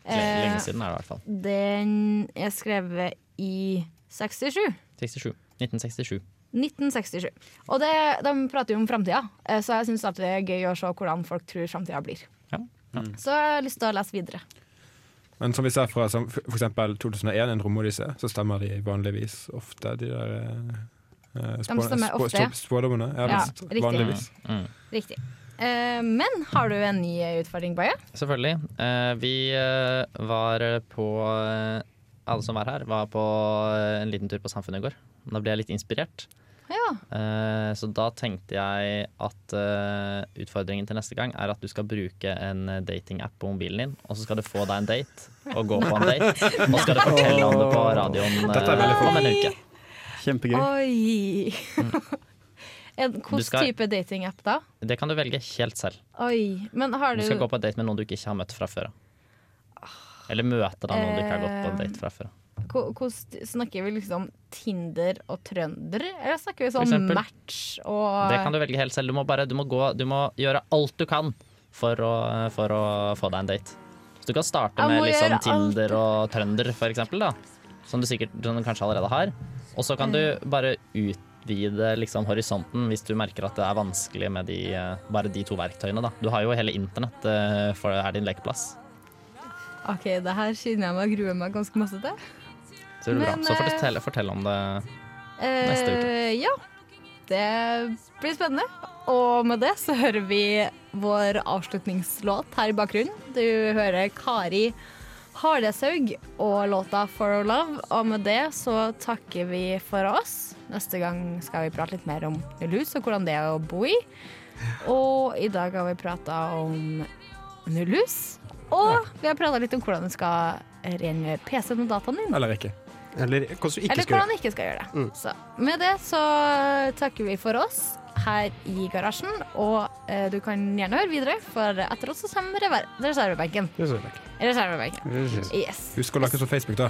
Speaker 1: Eh,
Speaker 7: lenge siden er det i hvert fall.
Speaker 1: Den er skrevet i 67.
Speaker 7: 67. 1967.
Speaker 1: 1967. Og det, de prater jo om framtida, eh, så jeg syns alltid det er gøy å se hvordan folk tror framtida blir. Så jeg har lyst til å lese videre.
Speaker 4: Men som vi ser fra som f- for eksempel 2001, en romodyssé, så stemmer de vanligvis ofte, de der eh, eh, spå-
Speaker 1: stemmer
Speaker 4: spå-
Speaker 1: ofte,
Speaker 4: spå-
Speaker 1: ja.
Speaker 4: spådommene. Ja,
Speaker 1: Ja,
Speaker 4: men
Speaker 1: riktig.
Speaker 4: vanligvis.
Speaker 1: Riktig. Eh, men har du en ny utfordring, Baje?
Speaker 7: Selvfølgelig. Eh, vi eh, var på eh, Alle som var her, var på eh, en liten tur på Samfunnet i går. Da ble jeg litt inspirert.
Speaker 1: Ja.
Speaker 7: Eh, så da tenkte jeg at eh, utfordringen til neste gang er at du skal bruke en eh, datingapp på mobilen din, og så skal du få deg en date og gå på
Speaker 4: (laughs)
Speaker 7: en date. Og så skal du fortelle om det på radioen eh,
Speaker 4: Dette er veldig fint.
Speaker 7: om en uke.
Speaker 3: Kjempegøy.
Speaker 1: Oi! (laughs) En-
Speaker 7: Du
Speaker 1: Hvilken
Speaker 7: skal-
Speaker 1: type datingapp da?
Speaker 7: Det kan du velge helt selv.
Speaker 1: Oi, men har
Speaker 7: Du
Speaker 1: du Ah.
Speaker 7: skal gå på en date med noen du ikke har møtt fra før. da. Eller møte da noen du ikke har gått på en
Speaker 1: Eh,
Speaker 7: date fra før. da.
Speaker 1: Ko- kos- Snakker vi liksom Tinder og trønder, eller snakker vi
Speaker 7: For
Speaker 1: sånn
Speaker 7: eksempel.
Speaker 1: match og
Speaker 7: Det kan du velge helt selv. Du må, bare, du må, gå, du må gjøre alt du kan for å, for å få deg en date. Så du kan starte
Speaker 1: Jeg
Speaker 7: med
Speaker 1: må
Speaker 7: liksom
Speaker 1: gjøre alt.
Speaker 7: Tinder og Trønder, for eksempel, da. Som du sikkert som du kanskje allerede har. Og så kan du bare utvide liksom, horisonten hvis du merker at det er vanskelig med de, eh, bare de to verktøyene. Da. Du har jo hele internett, eh, for det er din lekeplass.
Speaker 1: OK, det her kjenner jeg meg og gruer meg ganske masse til.
Speaker 7: Det blir bra.
Speaker 1: Men,
Speaker 7: Så får du
Speaker 1: eh,
Speaker 7: telle, fortelle om det neste uke.
Speaker 1: Eh, ja. Det blir spennende. Og med det så hører vi vår avslutningslåt her i bakgrunnen. Du hører Kari Hardeshaug og låta 'For Our Love'. Og med det så takker vi for oss. Neste gang skal vi prate litt mer om nullhus og hvordan det er å bo i. Og i dag har vi prata om nullhus. Og vi har prata litt om hvordan du skal rengjøre PC-en og dataen din.
Speaker 4: Eller ikke.
Speaker 2: Eller hvordan du ikke
Speaker 1: Eller
Speaker 2: skal
Speaker 1: hvordan
Speaker 2: gjøre
Speaker 1: man ikke skal gjøre det.
Speaker 2: Mm.
Speaker 1: Så med det så takker vi for oss her i garasjen. Og eh, du kan gjerne høre videre, for etter oss så kommer rever- reservebenken. Reservebenken. Yes.
Speaker 4: Husk å like oss på Facebook, da.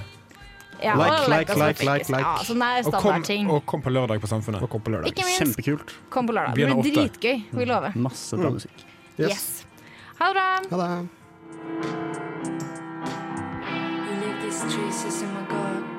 Speaker 1: Ja, og like oss på Facebook. Ja, sånne er
Speaker 4: Og kom,
Speaker 1: standardting.
Speaker 4: og kom på lørdag på Samfunnet. Og
Speaker 2: kom på
Speaker 1: Ikke minst.
Speaker 3: Kjempekult.
Speaker 1: Kom på lørdag. Det
Speaker 4: Begynner
Speaker 1: blir
Speaker 4: åtte.
Speaker 1: dritgøy. Vi lover.
Speaker 3: Masse bra
Speaker 1: Mm.
Speaker 3: musikk.
Speaker 1: Yes. Ha det bra.
Speaker 2: Ha det.
Speaker 6: You leave these traces in my gut.